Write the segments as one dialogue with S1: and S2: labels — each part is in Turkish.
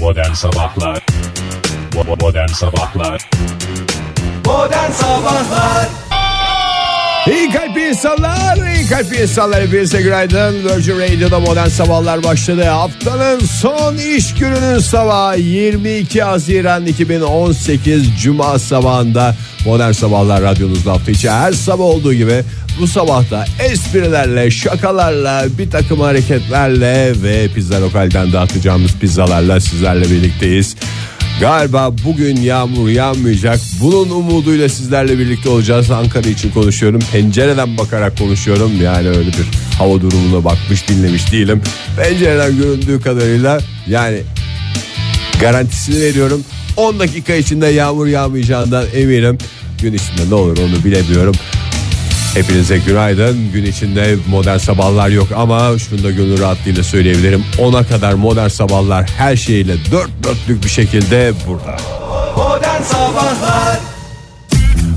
S1: Modern Sabahlar Bo- bo- Modern Sabahlar
S2: Modern Sabahlar
S3: İyi kalpli insanlar, iyi kalpli insanlar hepinize günaydın. Virgin Radio'da modern sabahlar başladı. Haftanın son iş gününün sabahı 22 Haziran 2018 Cuma sabahında modern sabahlar radyonuzda hafta içi her sabah olduğu gibi bu sabahta esprilerle, şakalarla, bir takım hareketlerle ve pizza lokalden dağıtacağımız pizzalarla sizlerle birlikteyiz. Galiba bugün yağmur yağmayacak. Bunun umuduyla sizlerle birlikte olacağız. Ankara için konuşuyorum. Pencereden bakarak konuşuyorum. Yani öyle bir hava durumuna bakmış dinlemiş değilim. Pencereden göründüğü kadarıyla yani garantisini veriyorum. 10 dakika içinde yağmur yağmayacağından eminim. Gün içinde ne olur onu bilemiyorum. Hepinize günaydın. Gün içinde modern sabahlar yok ama şunu da gönül rahatlığıyla söyleyebilirim. 10'a kadar modern sabahlar her şeyle dört dörtlük bir şekilde burada.
S2: Modern Sabahlar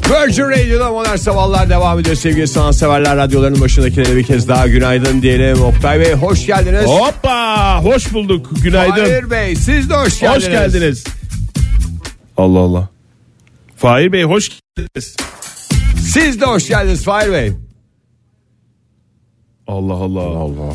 S3: Virgin Radio'da modern sabahlar devam ediyor sevgili sanatseverler. Radyoların başındakilere bir kez daha günaydın diyelim. Oktay Bey hoş geldiniz.
S4: Hoppa! Hoş bulduk. Günaydın.
S3: Fahir Bey siz de hoş geldiniz.
S4: Hoş geldiniz. Allah Allah. Fahir Bey hoş geldiniz.
S3: Siz de hoş geldiniz Fahir Bey.
S4: Allah Allah.
S3: Allah.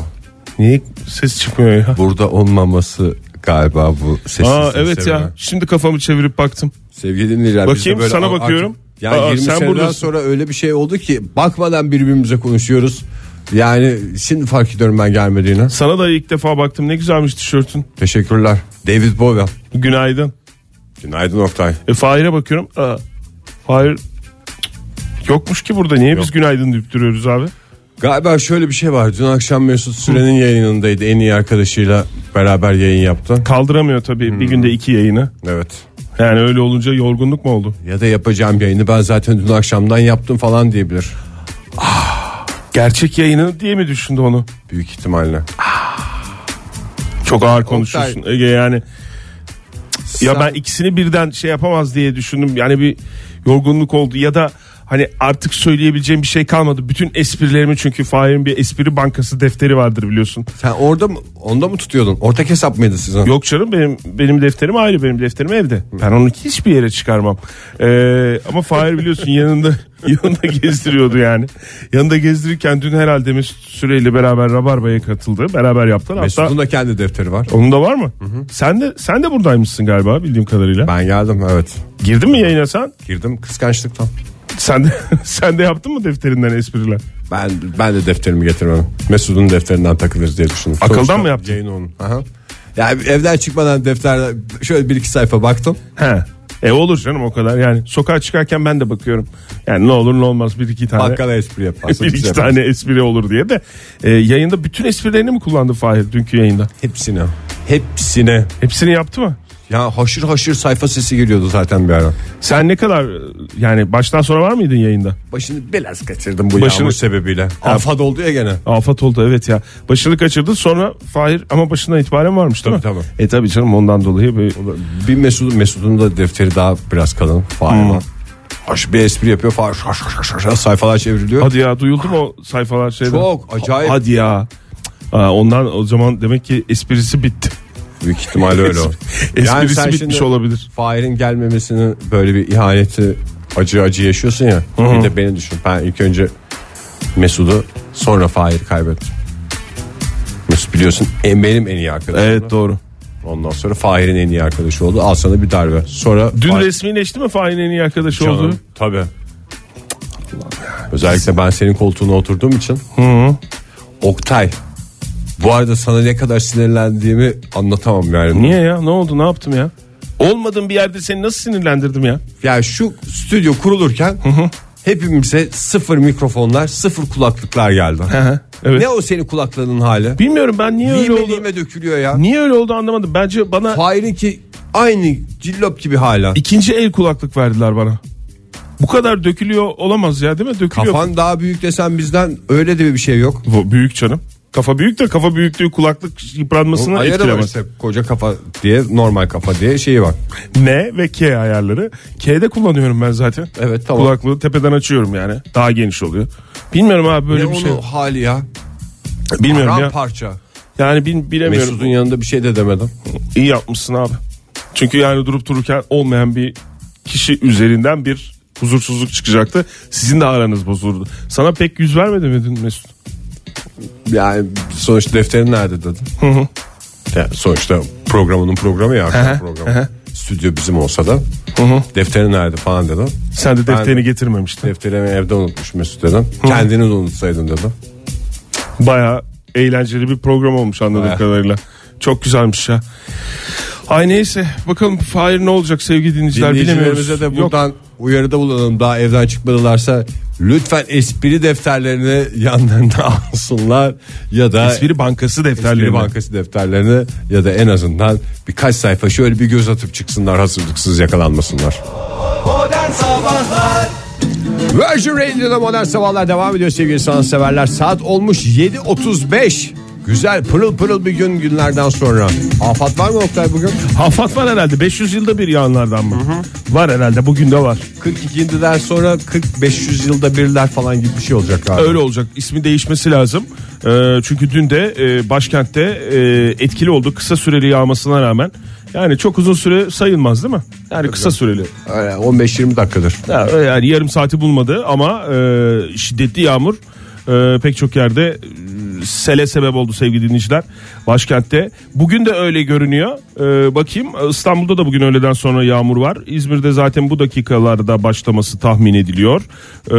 S4: Niye ses çıkmıyor ya?
S3: Burada olmaması galiba bu sessiz
S4: Aa
S3: ses
S4: evet
S3: sebebi.
S4: ya. Şimdi kafamı çevirip baktım.
S3: Sevgili dinleyiciler. biz de
S4: Bakayım,
S3: böyle
S4: sana
S3: a- artık-
S4: bakıyorum.
S3: Yani
S4: Aa,
S3: 20
S4: sen
S3: seneden
S4: buradasın.
S3: sonra öyle bir şey oldu ki bakmadan birbirimize konuşuyoruz. Yani şimdi fark ediyorum ben gelmediğini.
S4: Sana da ilk defa baktım. Ne güzelmiş tişörtün.
S3: Teşekkürler. David Bowie.
S4: Günaydın.
S3: Günaydın Oktay.
S4: E Fahir'e bakıyorum. Aa, Fahir Cık, yokmuş ki burada. Niye biz günaydın deyip duruyoruz abi?
S3: Galiba şöyle bir şey var. Dün akşam Mesut Süren'in yayınındaydı. En iyi arkadaşıyla beraber yayın yaptı.
S4: Kaldıramıyor tabii bir günde iki yayını.
S3: Evet.
S4: Yani öyle olunca yorgunluk mu oldu?
S3: Ya da yapacağım yayını ben zaten dün akşamdan yaptım falan diyebilir.
S4: Gerçek yayını diye mi düşündü onu?
S3: Büyük ihtimalle.
S4: Çok ağır konuşuyorsun Ege yani. Ya ben ikisini birden şey yapamaz diye düşündüm. Yani bir yorgunluk oldu ya da hani artık söyleyebileceğim bir şey kalmadı. Bütün esprilerimi çünkü Fahir'in bir espri bankası defteri vardır biliyorsun.
S3: Sen orada mı, onda mı tutuyordun? Ortak hesap mıydı sizin?
S4: Yok canım benim benim defterim ayrı benim defterim evde. Ben onu hiçbir yere çıkarmam. Ee, ama Fahir biliyorsun yanında yanında gezdiriyordu yani. Yanında gezdirirken dün herhalde Mesut Süreyle beraber Rabarba'ya katıldı. Beraber yaptılar. Hatta
S3: Mesut'un da kendi defteri var.
S4: onun da var mı? Sen de sen de buradaymışsın galiba bildiğim kadarıyla.
S3: Ben geldim evet.
S4: Girdin mi yayına sen?
S3: Girdim kıskançlıktan.
S4: Sen de, sen de yaptın mı defterinden espriler?
S3: Ben ben de defterimi getirmem. Mesut'un defterinden takılırız diye düşündüm.
S4: Akıldan
S3: Sonuçta
S4: mı yaptın?
S3: Yayın onun. Aha. Yani evden çıkmadan defterde şöyle bir iki sayfa baktım.
S4: He. E olur canım o kadar yani. Sokağa çıkarken ben de bakıyorum. Yani ne olur ne olmaz bir iki tane.
S3: Bakkala espri yaparsın.
S4: bir iki
S3: güzel.
S4: tane espri olur diye de. E, yayında bütün esprilerini mi kullandı Fahir dünkü yayında?
S3: Hepsine. Hepsine.
S4: Hepsini yaptı mı?
S3: Ya haşır haşır sayfa sesi geliyordu zaten bir ara.
S4: Sen ne kadar e, yani baştan sonra var mıydın yayında?
S3: Başını biraz kaçırdım bu
S4: Başını-
S3: yağmur sebebiyle. Afat oldu ya gene.
S4: Afat oldu evet ya. Başını kaçırdı sonra Fahir ama başından itibaren varmış değil
S3: Tabii,
S4: mi? E tabii canım ondan dolayı bir
S3: Bir Mesut'un Mesut'un da defteri daha biraz kalın.
S4: Hmm.
S3: Fahir var. Haş bir espri yapıyor. Fahir haş haş haş haş haş sayfalar çevriliyor.
S4: Hadi ya duyuldu mu o sayfalar şeyden?
S3: Çok, acayip.
S4: Hadi ya. Aa, ondan o zaman demek ki esprisi bitti.
S3: Büyük ihtimalle öyle o.
S4: Esprisi bitmiş olabilir.
S3: Fahir'in gelmemesini böyle bir ihaneti acı acı yaşıyorsun ya. Bir de beni düşün. Ben ilk önce Mesut'u sonra Fahir'i kaybettim. Mesut biliyorsun en benim en iyi arkadaşım.
S4: Evet doğru.
S3: Ondan sonra Fahir'in en iyi arkadaşı oldu. Al sana bir darbe. Sonra
S4: Dün
S3: Fahir-
S4: resmileşti mi Fahir'in en iyi arkadaşı
S3: Canım,
S4: oldu?
S3: Tabii. Özellikle ben senin koltuğuna oturduğum için. Oktay. Bu arada sana ne kadar sinirlendiğimi anlatamam yani.
S4: Niye ya? Ne oldu? Ne yaptım ya? Olmadığım bir yerde seni nasıl sinirlendirdim ya?
S3: Yani şu stüdyo kurulurken hepimize sıfır mikrofonlar, sıfır kulaklıklar geldi.
S4: evet.
S3: Ne o senin kulaklığının hali?
S4: Bilmiyorum ben niye öyle
S3: Lime
S4: oldu?
S3: lime dökülüyor ya.
S4: Niye öyle oldu anlamadım. Bence bana
S3: Fahir'in ki aynı cillop gibi hala.
S4: ikinci el kulaklık verdiler bana. Bu kadar dökülüyor olamaz ya değil mi? Dökülüyor.
S3: Kafan daha büyük desen bizden öyle de bir şey yok.
S4: Bu Büyük canım. Kafa büyük de kafa büyüklüğü kulaklık yıpranmasına
S3: Ayarı var
S4: etkilemez.
S3: işte koca kafa diye normal kafa diye şeyi var.
S4: N ve K ayarları. K'de kullanıyorum ben zaten.
S3: Evet, tamam.
S4: Kulaklığı tepeden açıyorum yani. Daha geniş oluyor. Bilmiyorum abi böyle
S3: Ne
S4: bir
S3: onun
S4: şey.
S3: hali şey ya.
S4: Bilmiyorum ya.
S3: parça.
S4: Yani bin, bilemiyorum.
S3: Mesut'un yanında bir şey de demedim.
S4: İyi yapmışsın abi. Çünkü yani durup dururken olmayan bir kişi üzerinden bir huzursuzluk çıkacaktı. Sizin de aranız bozulurdu. Sana pek yüz vermedi miydin Mesut?
S3: Yani sonuçta defterin nerede dedim. Ya sonuçta programının programı ya arka programı. Stüdyo bizim olsa da defterin nerede falan dedim.
S4: Sen de defterini
S3: Ben-
S4: getirmemiştin.
S3: Defterimi evde unutmuş Mesut dedim. Kendini de unutsaydın dedim.
S4: Baya eğlenceli bir program olmuş anladığım
S3: Baya.
S4: kadarıyla. Çok güzelmiş ya. Ay neyse bakalım Fahir ne olacak sevgili dinleyiciler bilemiyoruz.
S3: Dinleyicilerimize de
S4: Yok,
S3: buradan uyarıda bulunalım. Daha evden çıkmadılarsa lütfen espri defterlerini yanlarına alsınlar ya da
S4: espri bankası defterleri.
S3: Espri Bankası defterlerini ya da en azından birkaç sayfa şöyle bir göz atıp çıksınlar hazırlıksız yakalanmasınlar.
S5: Modern Sabahlar
S3: Virgin Radio'da modern sabahlar devam ediyor sevgili sanatseverler. Saat olmuş 7.35. Güzel pırıl pırıl bir gün günlerden sonra. Afat var mı Oktay bugün?
S4: Hafat var herhalde 500 yılda bir yağanlardan mı? Var herhalde bugün de var.
S3: 42'den sonra 40-500 yılda birler falan gibi bir şey olacak galiba.
S4: Öyle olacak. İsmi değişmesi lazım. Ee, çünkü dün de e, başkentte e, etkili oldu kısa süreli yağmasına rağmen. Yani çok uzun süre sayılmaz değil mi? Yani kısa süreli.
S3: Öyle 15-20 dakikadır.
S4: Ya, Yani yarım saati bulmadı ama e, şiddetli yağmur e, pek çok yerde e, sele sebep oldu sevgili dinleyiciler başkentte. Bugün de öyle görünüyor. E, bakayım İstanbul'da da bugün öğleden sonra yağmur var. İzmir'de zaten bu dakikalarda başlaması tahmin ediliyor. E,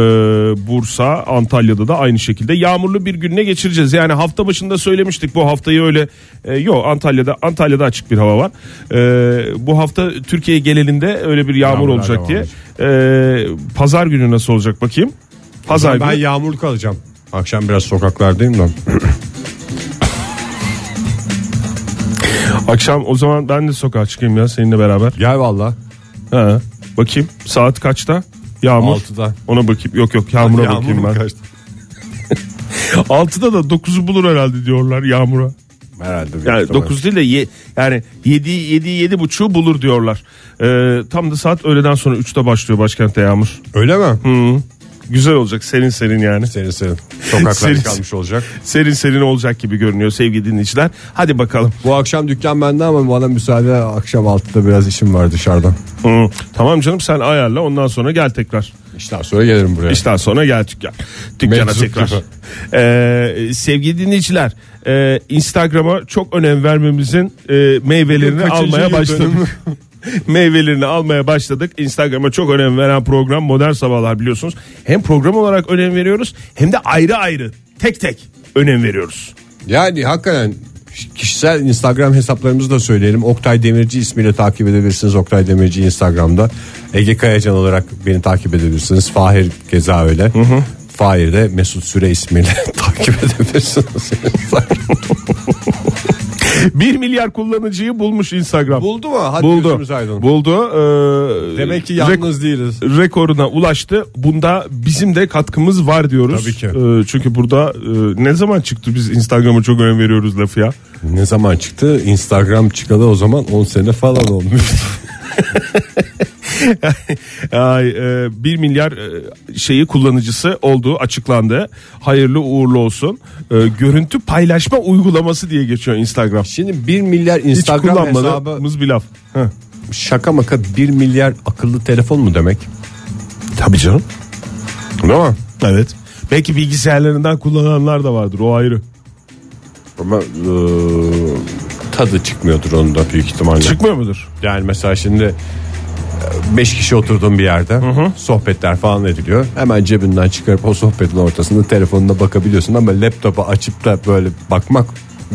S4: Bursa, Antalya'da da aynı şekilde yağmurlu bir gününe geçireceğiz. Yani hafta başında söylemiştik bu haftayı öyle e, yok Antalya'da Antalya'da açık bir hava var. E, bu hafta Türkiye genelinde öyle bir yağmur
S3: Yağmurlar
S4: olacak
S3: devam
S4: diye.
S3: edecek.
S4: Ee, pazar günü nasıl olacak bakayım? Pazar
S3: ben
S4: günü.
S3: yağmur kalacağım. Akşam biraz sokaklardayım da.
S4: Akşam o zaman ben de sokağa çıkayım ya seninle beraber.
S3: Gel valla.
S4: Ha, bakayım saat kaçta? Yağmur.
S3: Altıda.
S4: Ona bakayım. Yok yok yağmura bakayım ben. 6'da da 9'u bulur herhalde diyorlar yağmura.
S3: Herhalde. büyük
S4: Yani
S3: ihtimal.
S4: 9 değil de ye, yani 7 7 7 buçuğu bulur diyorlar. Ee, tam da saat öğleden sonra 3'te başlıyor başkentte yağmur.
S3: Öyle mi?
S4: Güzel olacak serin serin yani.
S3: Serin serin. Sokaklar
S4: Serin-
S3: kalmış olacak.
S4: Serin serin olacak gibi görünüyor sevgili dinleyiciler. Hadi bakalım.
S3: Bu akşam dükkan bende ama bana müsaade akşam 6'da biraz işim var dışarıda.
S4: Hı, Tamam canım sen ayarla ondan sonra gel tekrar.
S3: İşten sonra gelirim buraya.
S4: İşten sonra gel dükkan. Dükkana
S3: Mevzu
S4: tekrar.
S3: gibi.
S4: Ee, sevgili dinleyiciler e, Instagram'a çok önem vermemizin e, meyvelerini
S3: Kaçıncı
S4: almaya
S3: yıl dönümü?
S4: başladık. meyvelerini almaya başladık. Instagram'a çok önem veren program Modern Sabahlar biliyorsunuz. Hem program olarak önem veriyoruz hem de ayrı ayrı tek tek önem veriyoruz.
S3: Yani hakikaten kişisel Instagram hesaplarımızı da söyleyelim. Oktay Demirci ismiyle takip edebilirsiniz. Oktay Demirci Instagram'da. Ege Kayacan olarak beni takip edebilirsiniz. Fahir Geza öyle. Fahir de Mesut Süre ismiyle takip edebilirsiniz.
S4: 1 milyar kullanıcıyı bulmuş Instagram.
S3: Buldu mu? Hadi
S4: Buldu.
S3: gözümüz aydın.
S4: Buldu. Ee,
S3: Demek ki
S4: rek-
S3: yalnız değiliz.
S4: rekoruna ulaştı. Bunda bizim de katkımız var diyoruz.
S3: Tabii ki.
S4: Ee, çünkü burada e, ne zaman çıktı biz Instagram'a çok önem veriyoruz lafı ya.
S3: Ne zaman çıktı? Instagram çıkalı o zaman 10 sene falan olmuş.
S4: Ay, e, 1 milyar e, şeyi kullanıcısı olduğu açıklandı. Hayırlı uğurlu olsun. E, görüntü paylaşma uygulaması diye geçiyor Instagram.
S3: Şimdi 1 milyar
S4: Hiç
S3: Instagram hesabı
S4: kullanmadığımız bir laf. Heh.
S3: şaka maka 1 milyar akıllı telefon mu demek?
S4: Tabii canım.
S3: Değil mi?
S4: Evet. Belki bilgisayarlarından kullananlar da vardır o ayrı.
S3: Ama eee, tadı çıkmıyordur onun da büyük ihtimalle.
S4: Çıkmıyor mudur?
S3: yani mesela şimdi 5 kişi oturduğum bir yerde sohbetler falan ediliyor. Hemen cebinden çıkarıp o sohbetin ortasında telefonuna bakabiliyorsun ama laptopu açıp da böyle bakmak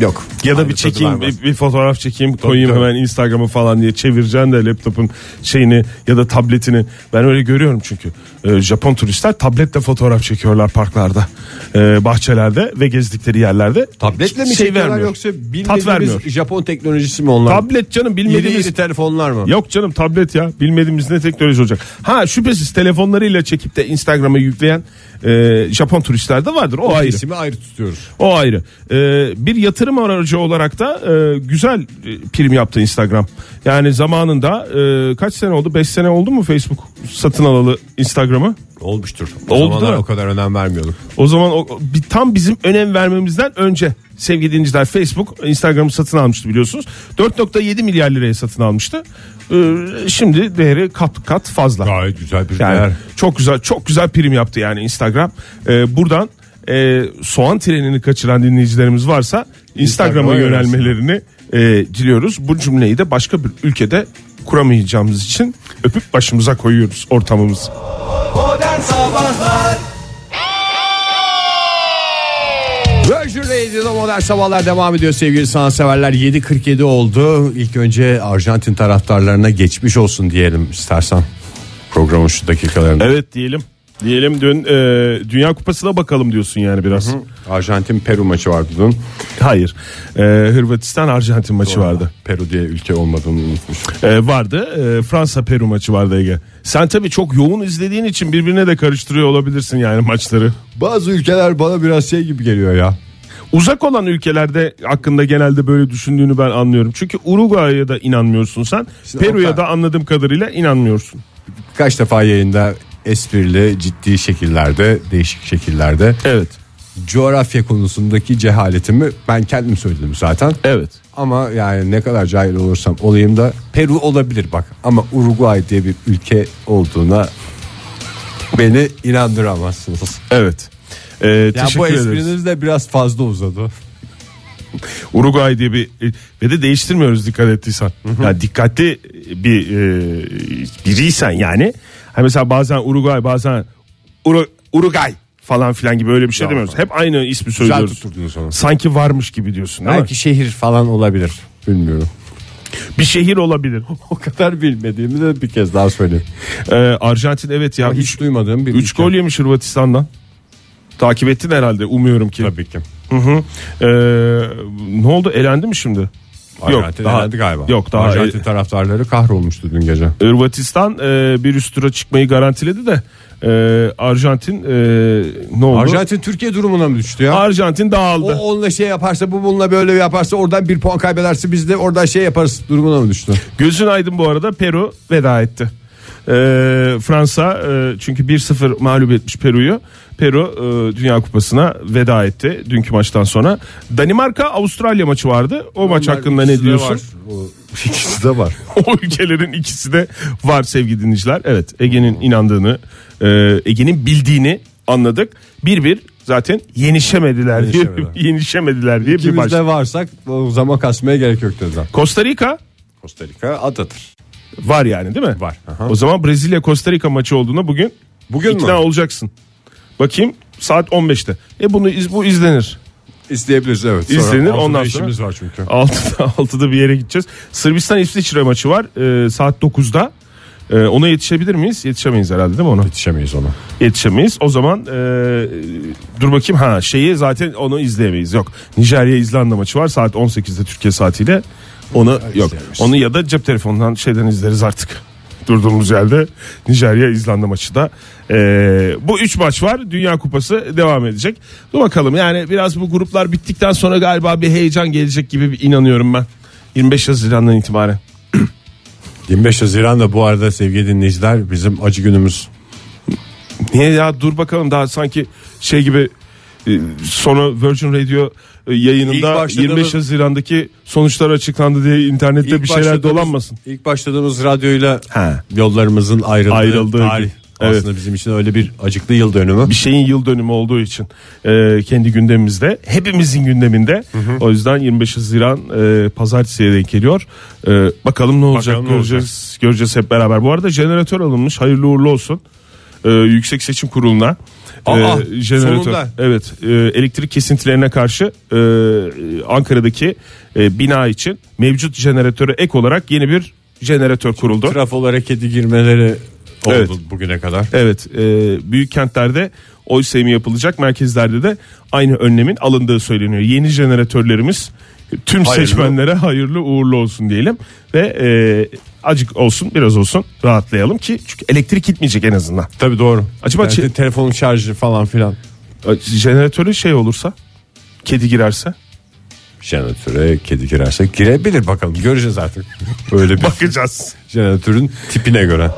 S3: yok.
S4: Ya da
S3: Aynı
S4: bir
S3: tadı
S4: çekeyim
S3: vermez.
S4: bir, bir fotoğraf çekeyim koyayım
S3: tabii.
S4: hemen Instagram'a falan diye çevireceksin de laptopun şeyini ya da tabletini. Ben öyle görüyorum çünkü. Ee, Japon turistler tabletle fotoğraf çekiyorlar parklarda, ee, bahçelerde ve gezdikleri yerlerde.
S3: Tabletle mi
S4: Şey
S3: çekiyorlar
S4: vermiyor.
S3: yoksa
S4: Tat vermiyor.
S3: bilmediğimiz Japon teknolojisi mi onlar?
S4: Tablet
S3: Yeni
S4: canım bilmediğimiz
S3: yeni telefonlar mı?
S4: Yok canım tablet ya bilmediğimiz ne teknoloji olacak. Ha şüphesiz telefonlarıyla çekip de Instagram'a yükleyen e, Japon turistler de vardır o ayrı.
S3: İsmi ayrı tutuyoruz.
S4: O ayrı. Ee, bir yatırım yatırım aracı olarak da e, güzel e, prim yaptı Instagram. Yani zamanında e, kaç sene oldu? 5 sene oldu mu Facebook satın alalı Instagram'ı?
S3: Olmuştur. O
S4: Oldu
S3: zamanlar
S4: da.
S3: o kadar önem vermiyorduk.
S4: O zaman o, bir- tam bizim önem vermemizden önce sevgili dinleyiciler Facebook Instagram'ı satın almıştı biliyorsunuz. 4.7 milyar liraya satın almıştı. Ee, şimdi değeri kat kat fazla.
S3: Gayet güzel bir
S4: Yani
S3: değer.
S4: çok güzel çok güzel prim yaptı yani Instagram. Ee, buradan e, soğan trenini kaçıran dinleyicilerimiz varsa Instagram'a
S3: Instagram'a
S4: yönelmelerini e, diliyoruz. Bu cümleyi de başka bir ülkede kuramayacağımız için öpüp başımıza koyuyoruz ortamımızı.
S6: Modern Sabahlar
S3: Virgin Radio'da modern sabahlar devam ediyor sevgili sanatseverler. 7.47 oldu. İlk önce Arjantin taraftarlarına geçmiş olsun diyelim istersen. Programın şu dakikalarında.
S4: Evet diyelim. Diyelim dün e, Dünya Kupası'na bakalım diyorsun yani biraz.
S3: Arjantin Peru maçı vardı dün.
S4: Hayır. E, Hırvatistan Arjantin maçı vardı.
S3: Peru diye ülke olmadığını unutmuş.
S4: E, vardı. Fransa Peru maçı vardı Ege. Sen tabii çok yoğun izlediğin için birbirine de karıştırıyor olabilirsin yani maçları.
S3: Bazı ülkeler bana biraz şey gibi geliyor ya.
S4: Uzak olan ülkelerde hakkında genelde böyle düşündüğünü ben anlıyorum. Çünkü Uruguay'a da inanmıyorsun sen.
S3: Şimdi
S4: Peru'ya
S3: Okan-
S4: da anladığım kadarıyla inanmıyorsun.
S3: Kaç defa yayında esprili ciddi şekillerde değişik şekillerde
S4: Evet.
S3: coğrafya konusundaki cehaletimi ben kendim söyledim zaten.
S4: Evet.
S3: Ama yani ne kadar cahil olursam olayım da Peru olabilir bak. Ama Uruguay diye bir ülke olduğuna beni inandıramazsınız.
S4: Evet. E,
S3: Ya
S4: teşekkür
S3: bu
S4: ederiz.
S3: espriniz de biraz fazla uzadı.
S4: Uruguay diye bir e, ve de değiştirmiyoruz dikkat ettiysen. Yani dikkatli bir e, biriysen yani. Hani mesela bazen Uruguay bazen Uru- Uruguay falan filan gibi öyle bir şey demiyoruz. Hep aynı ismi söylüyoruz.
S3: tutturdunuz onu.
S4: Sanki varmış gibi diyorsun değil mi?
S3: Belki şehir falan olabilir. Bilmiyorum.
S4: Bir şehir olabilir.
S3: O kadar bilmediğimi de bir kez daha söyleyeyim.
S4: Ee, Arjantin evet ya
S3: Hiç duymadığım bir
S4: 3
S3: ülke.
S4: gol yemiş Hırvatistan'dan. Takip ettin herhalde umuyorum ki.
S3: Tabii ki.
S4: Hı hı. Ee, ne oldu elendi mi şimdi?
S3: Arjantin
S4: daha-
S3: elendi galiba.
S4: Yok daha
S3: Arjantin taraftarları kahrolmuştu dün gece.
S4: Hırvatistan e, bir üst tura çıkmayı garantiledi de e, Arjantin e, ne oldu? Arjantin,
S3: Arjantin Türkiye durumuna mı düştü ya? o
S4: dağıldı.
S3: onunla şey yaparsa bu bununla böyle yaparsa oradan bir puan kaybederse biz de oradan şey yaparız durumuna mı düştü?
S4: Gözün aydın bu arada Peru veda etti. E, Fransa e, çünkü 1-0 mağlup etmiş Peru'yu. Peru e, Dünya Kupası'na veda etti dünkü maçtan sonra. Danimarka Avustralya maçı vardı. O maç hakkında ne diyorsun?
S3: İkisi de var.
S4: o ülkelerin ikisi de var sevgili dinleyiciler. Evet Ege'nin inandığını, e, Ege'nin bildiğini anladık. Bir bir zaten yenişemediler diye,
S3: Yenişemediler.
S4: yenişemediler diye bir
S3: İkimiz
S4: baş.
S3: de varsak o zaman kasmaya gerek yok dediler.
S4: Costa Rica
S3: Costa Rica adadır.
S4: var yani değil mi?
S3: Var, aha.
S4: O zaman Brezilya Costa Rica maçı olduğuna bugün
S3: Bugün mü?
S4: ikna olacaksın. Bakayım saat 15'te. E bunu iz- bu izlenir.
S3: İzleyebiliriz evet.
S4: İzlenir,
S3: altında
S4: ondan
S3: işimiz var çünkü.
S4: 6'da 6'da bir yere gideceğiz. Sırbistan İsviçre maçı var e, saat 9'da. E, ona yetişebilir miyiz? Yetişemeyiz herhalde değil mi ona?
S3: Yetişemeyiz ona.
S4: yetişemeyiz. O zaman eee, dur bakayım ha şeyi zaten onu izleyemeyiz. Yok. Nijerya İzlanda maçı var saat 18'de Türkiye saatiyle. Onu yok. Onu ya da cep telefonundan şeyden izleriz artık. Durduğumuz yerde Nijerya İzlanda maçı da eee, bu üç maç var. Dünya Kupası devam edecek. Dur bakalım yani biraz bu gruplar bittikten sonra galiba bir heyecan gelecek gibi bir inanıyorum ben. 25 Haziran'dan itibaren.
S3: 25 Haziran'da bu arada sevgili dinleyiciler bizim acı günümüz.
S4: Niye ya dur bakalım daha sanki şey gibi e, sonra Virgin Radio e,
S3: İlk
S4: yayınında
S3: başladığımız-
S4: 25 Haziran'daki sonuçlar açıklandı diye internette bir şeyler
S3: başladığımız-
S4: dolanmasın.
S3: İlk başladığımız radyoyla
S4: He.
S3: yollarımızın ayrıldığı,
S4: Ayrıldığı
S3: tarih.
S4: gün. Evet.
S3: Aslında bizim için öyle bir acıklı yıl dönümü.
S4: Bir şeyin yıl dönümü olduğu için e, kendi gündemimizde hepimizin gündeminde. O yüzden 25 Haziran e, pazartesiye denk geliyor. E, bakalım ne olacak
S3: Bakalım ne
S4: göreceğiz göreceğiz hep beraber. Bu arada jeneratör alınmış. Hayırlı uğurlu olsun. E, Yüksek Seçim Kurulu'na
S3: Aa,
S4: e, jeneratör.
S3: sonunda.
S4: Evet, e, elektrik kesintilerine karşı e, Ankara'daki e, bina için mevcut jeneratöre ek olarak yeni bir jeneratör kuruldu.
S3: Trafolara kedi girmeleri oldu
S4: Evet.
S3: bugüne kadar.
S4: Evet, e, büyük kentlerde oy sevimi yapılacak, merkezlerde de aynı önlemin alındığı söyleniyor. Yeni jeneratörlerimiz tüm
S3: Hayırlı.
S4: seçmenlere hayırlı uğurlu olsun diyelim ve e, acık olsun, biraz olsun rahatlayalım ki çünkü elektrik gitmeyecek en azından.
S3: Tabii doğru.
S4: Acaba
S3: Yani
S4: çe-
S3: telefonun şarjı falan filan
S4: Jeneratörü şey olursa, kedi girerse
S3: jeneratöre kedi girerse girebilir bakalım göreceğiz artık. Böyle bir
S4: Bakacağız.
S3: jeneratörün tipine göre.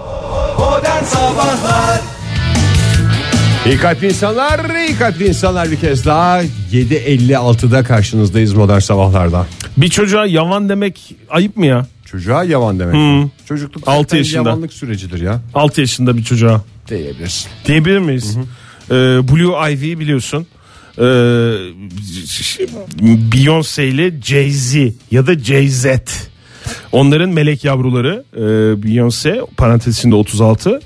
S2: Modern Sabahlar
S7: İyi kalpli insanlar, iyi kalpli insanlar bir kez daha 7.56'da karşınızdayız modern sabahlarda.
S4: Bir çocuğa yavan demek ayıp mı ya?
S3: Çocuğa yavan demek. Çocukluk
S4: Altı
S3: zaten
S4: yaşında.
S3: yavanlık sürecidir ya.
S4: 6 yaşında bir çocuğa.
S3: Diyebilirsin.
S4: Diyebilir miyiz? Ee, Blue Ivy'yi biliyorsun. Ee, Beyoncé ile Jay-Z ya da Jay-Z. Onların melek yavruları e, Beyoncé parantez içinde 36, e,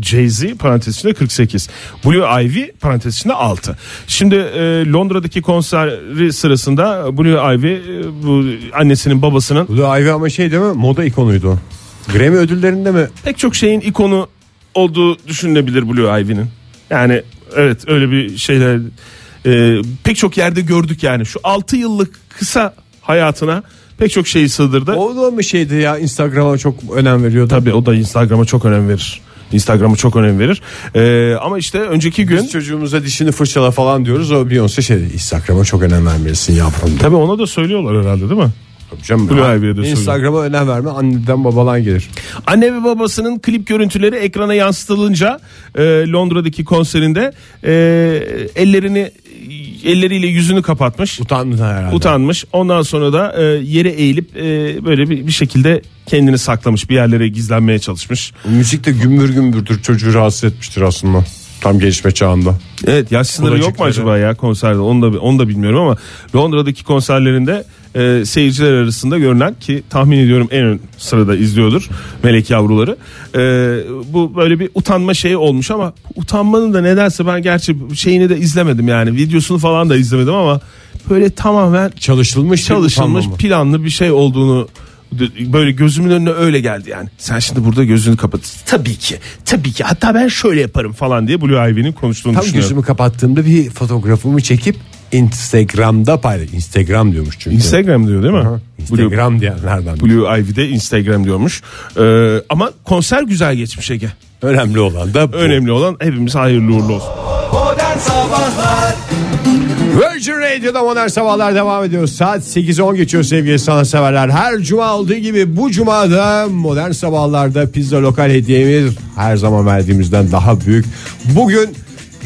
S4: Jay-Z parantez içinde 48. Blue Ivy parantez içinde 6. Şimdi e, Londra'daki konseri sırasında Blue Ivy e, bu annesinin babasının
S3: Bu da Ivy ama şey değil mi? Moda ikonuydu. Grammy ödüllerinde mi?
S4: pek çok şeyin ikonu olduğu düşünülebilir Blue Ivy'nin. Yani evet öyle bir şeyler e, pek çok yerde gördük yani. Şu 6 yıllık kısa hayatına pek çok şeyi sığdırdı.
S3: O da mı şeydi ya Instagram'a çok önem veriyordu.
S4: Tabii o da Instagram'a çok önem verir. Instagram'a çok önem verir. E, ama işte önceki gün
S3: Biz çocuğumuza dişini fırçala falan diyoruz. O Beyoncé şey dedi, Instagram'a çok önem vermelisin yavrum.
S4: tabii ona da söylüyorlar herhalde değil mi?
S3: Tabii canım.
S4: Blue
S3: Ha,
S4: Ivy'ye de söylüyor.
S3: Instagram'a önem verme anneden babadan gelir.
S4: Anne ve babasının klip görüntüleri ekrana yansıtılınca e, Londra'daki konserinde e, ellerini elleriyle yüzünü kapatmış.
S3: Utandın herhalde.
S4: Utanmış. Ondan sonra da e, yere eğilip e, böyle bir, bir şekilde kendini saklamış. Bir yerlere gizlenmeye çalışmış.
S3: Müzik de gümbür gümbürdür çocuğu rahatsız etmiştir aslında. Tam gelişme çağında.
S4: Evet yaş sınırı yok mu
S3: Kulacıkları.
S4: acaba ya konserde? Onu da onu da bilmiyorum ama Londra'daki konserlerinde e, seyirciler arasında görünen ki tahmin ediyorum en ön sırada izliyordur Melek Yavruları. E, bu böyle bir utanma şeyi olmuş ama utanmanın da nedense ben gerçi şeyini de izlemedim yani videosunu falan da izlemedim ama böyle tamamen
S3: Çalışılmış.
S4: çalışılmış
S3: utanma mı?
S4: planlı bir şey olduğunu d- böyle gözümün önüne öyle geldi yani. Sen şimdi burada gözünü kapat. Tabii ki. Tabii ki. Hatta ben şöyle yaparım falan diye Blue Ivy'nin konuştuğunu
S3: Tam
S4: düşünüyorum.
S3: gözümü kapattığımda bir fotoğrafımı çekip Instagram'da paylaş. Instagram diyormuş çünkü.
S4: Instagram diyor değil mi?
S3: Aha,
S4: Blue,
S3: Instagram diyenlerden.
S4: Blue Ivy'de Instagram diyormuş. Ee, ama konser güzel geçmiş Ege.
S3: Önemli olan da bu.
S4: Önemli olan hepimiz hayırlı uğurlu olsun.
S2: Modern Sabahlar
S3: Virgin Radio'da modern sabahlar devam ediyor. Saat 8.10 geçiyor sevgili sanatseverler. Her cuma olduğu gibi bu cumada modern sabahlarda pizza lokal hediyemiz her zaman verdiğimizden daha büyük. Bugün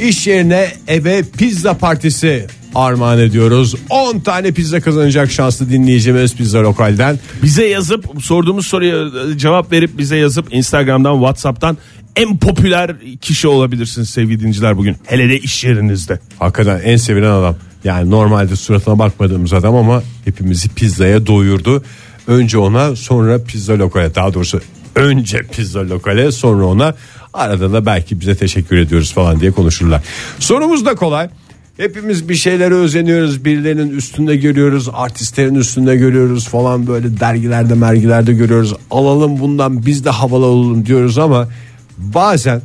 S3: iş yerine eve pizza partisi armağan ediyoruz. 10 tane pizza kazanacak şanslı dinleyicimiz pizza lokalden.
S4: Bize yazıp sorduğumuz soruya e, cevap verip bize yazıp Instagram'dan Whatsapp'tan en popüler kişi olabilirsiniz sevgili dinciler bugün. Hele de iş yerinizde.
S3: Hakikaten en sevilen adam. Yani normalde suratına bakmadığımız adam ama hepimizi pizzaya doyurdu. Önce ona sonra pizza lokale daha doğrusu önce pizza lokale sonra ona arada da belki bize teşekkür ediyoruz falan diye konuşurlar. Sorumuz da kolay. Hepimiz bir şeylere özeniyoruz. Birilerinin üstünde görüyoruz. Artistlerin üstünde görüyoruz falan böyle dergilerde mergilerde görüyoruz. Alalım bundan biz de havalı olalım diyoruz ama bazen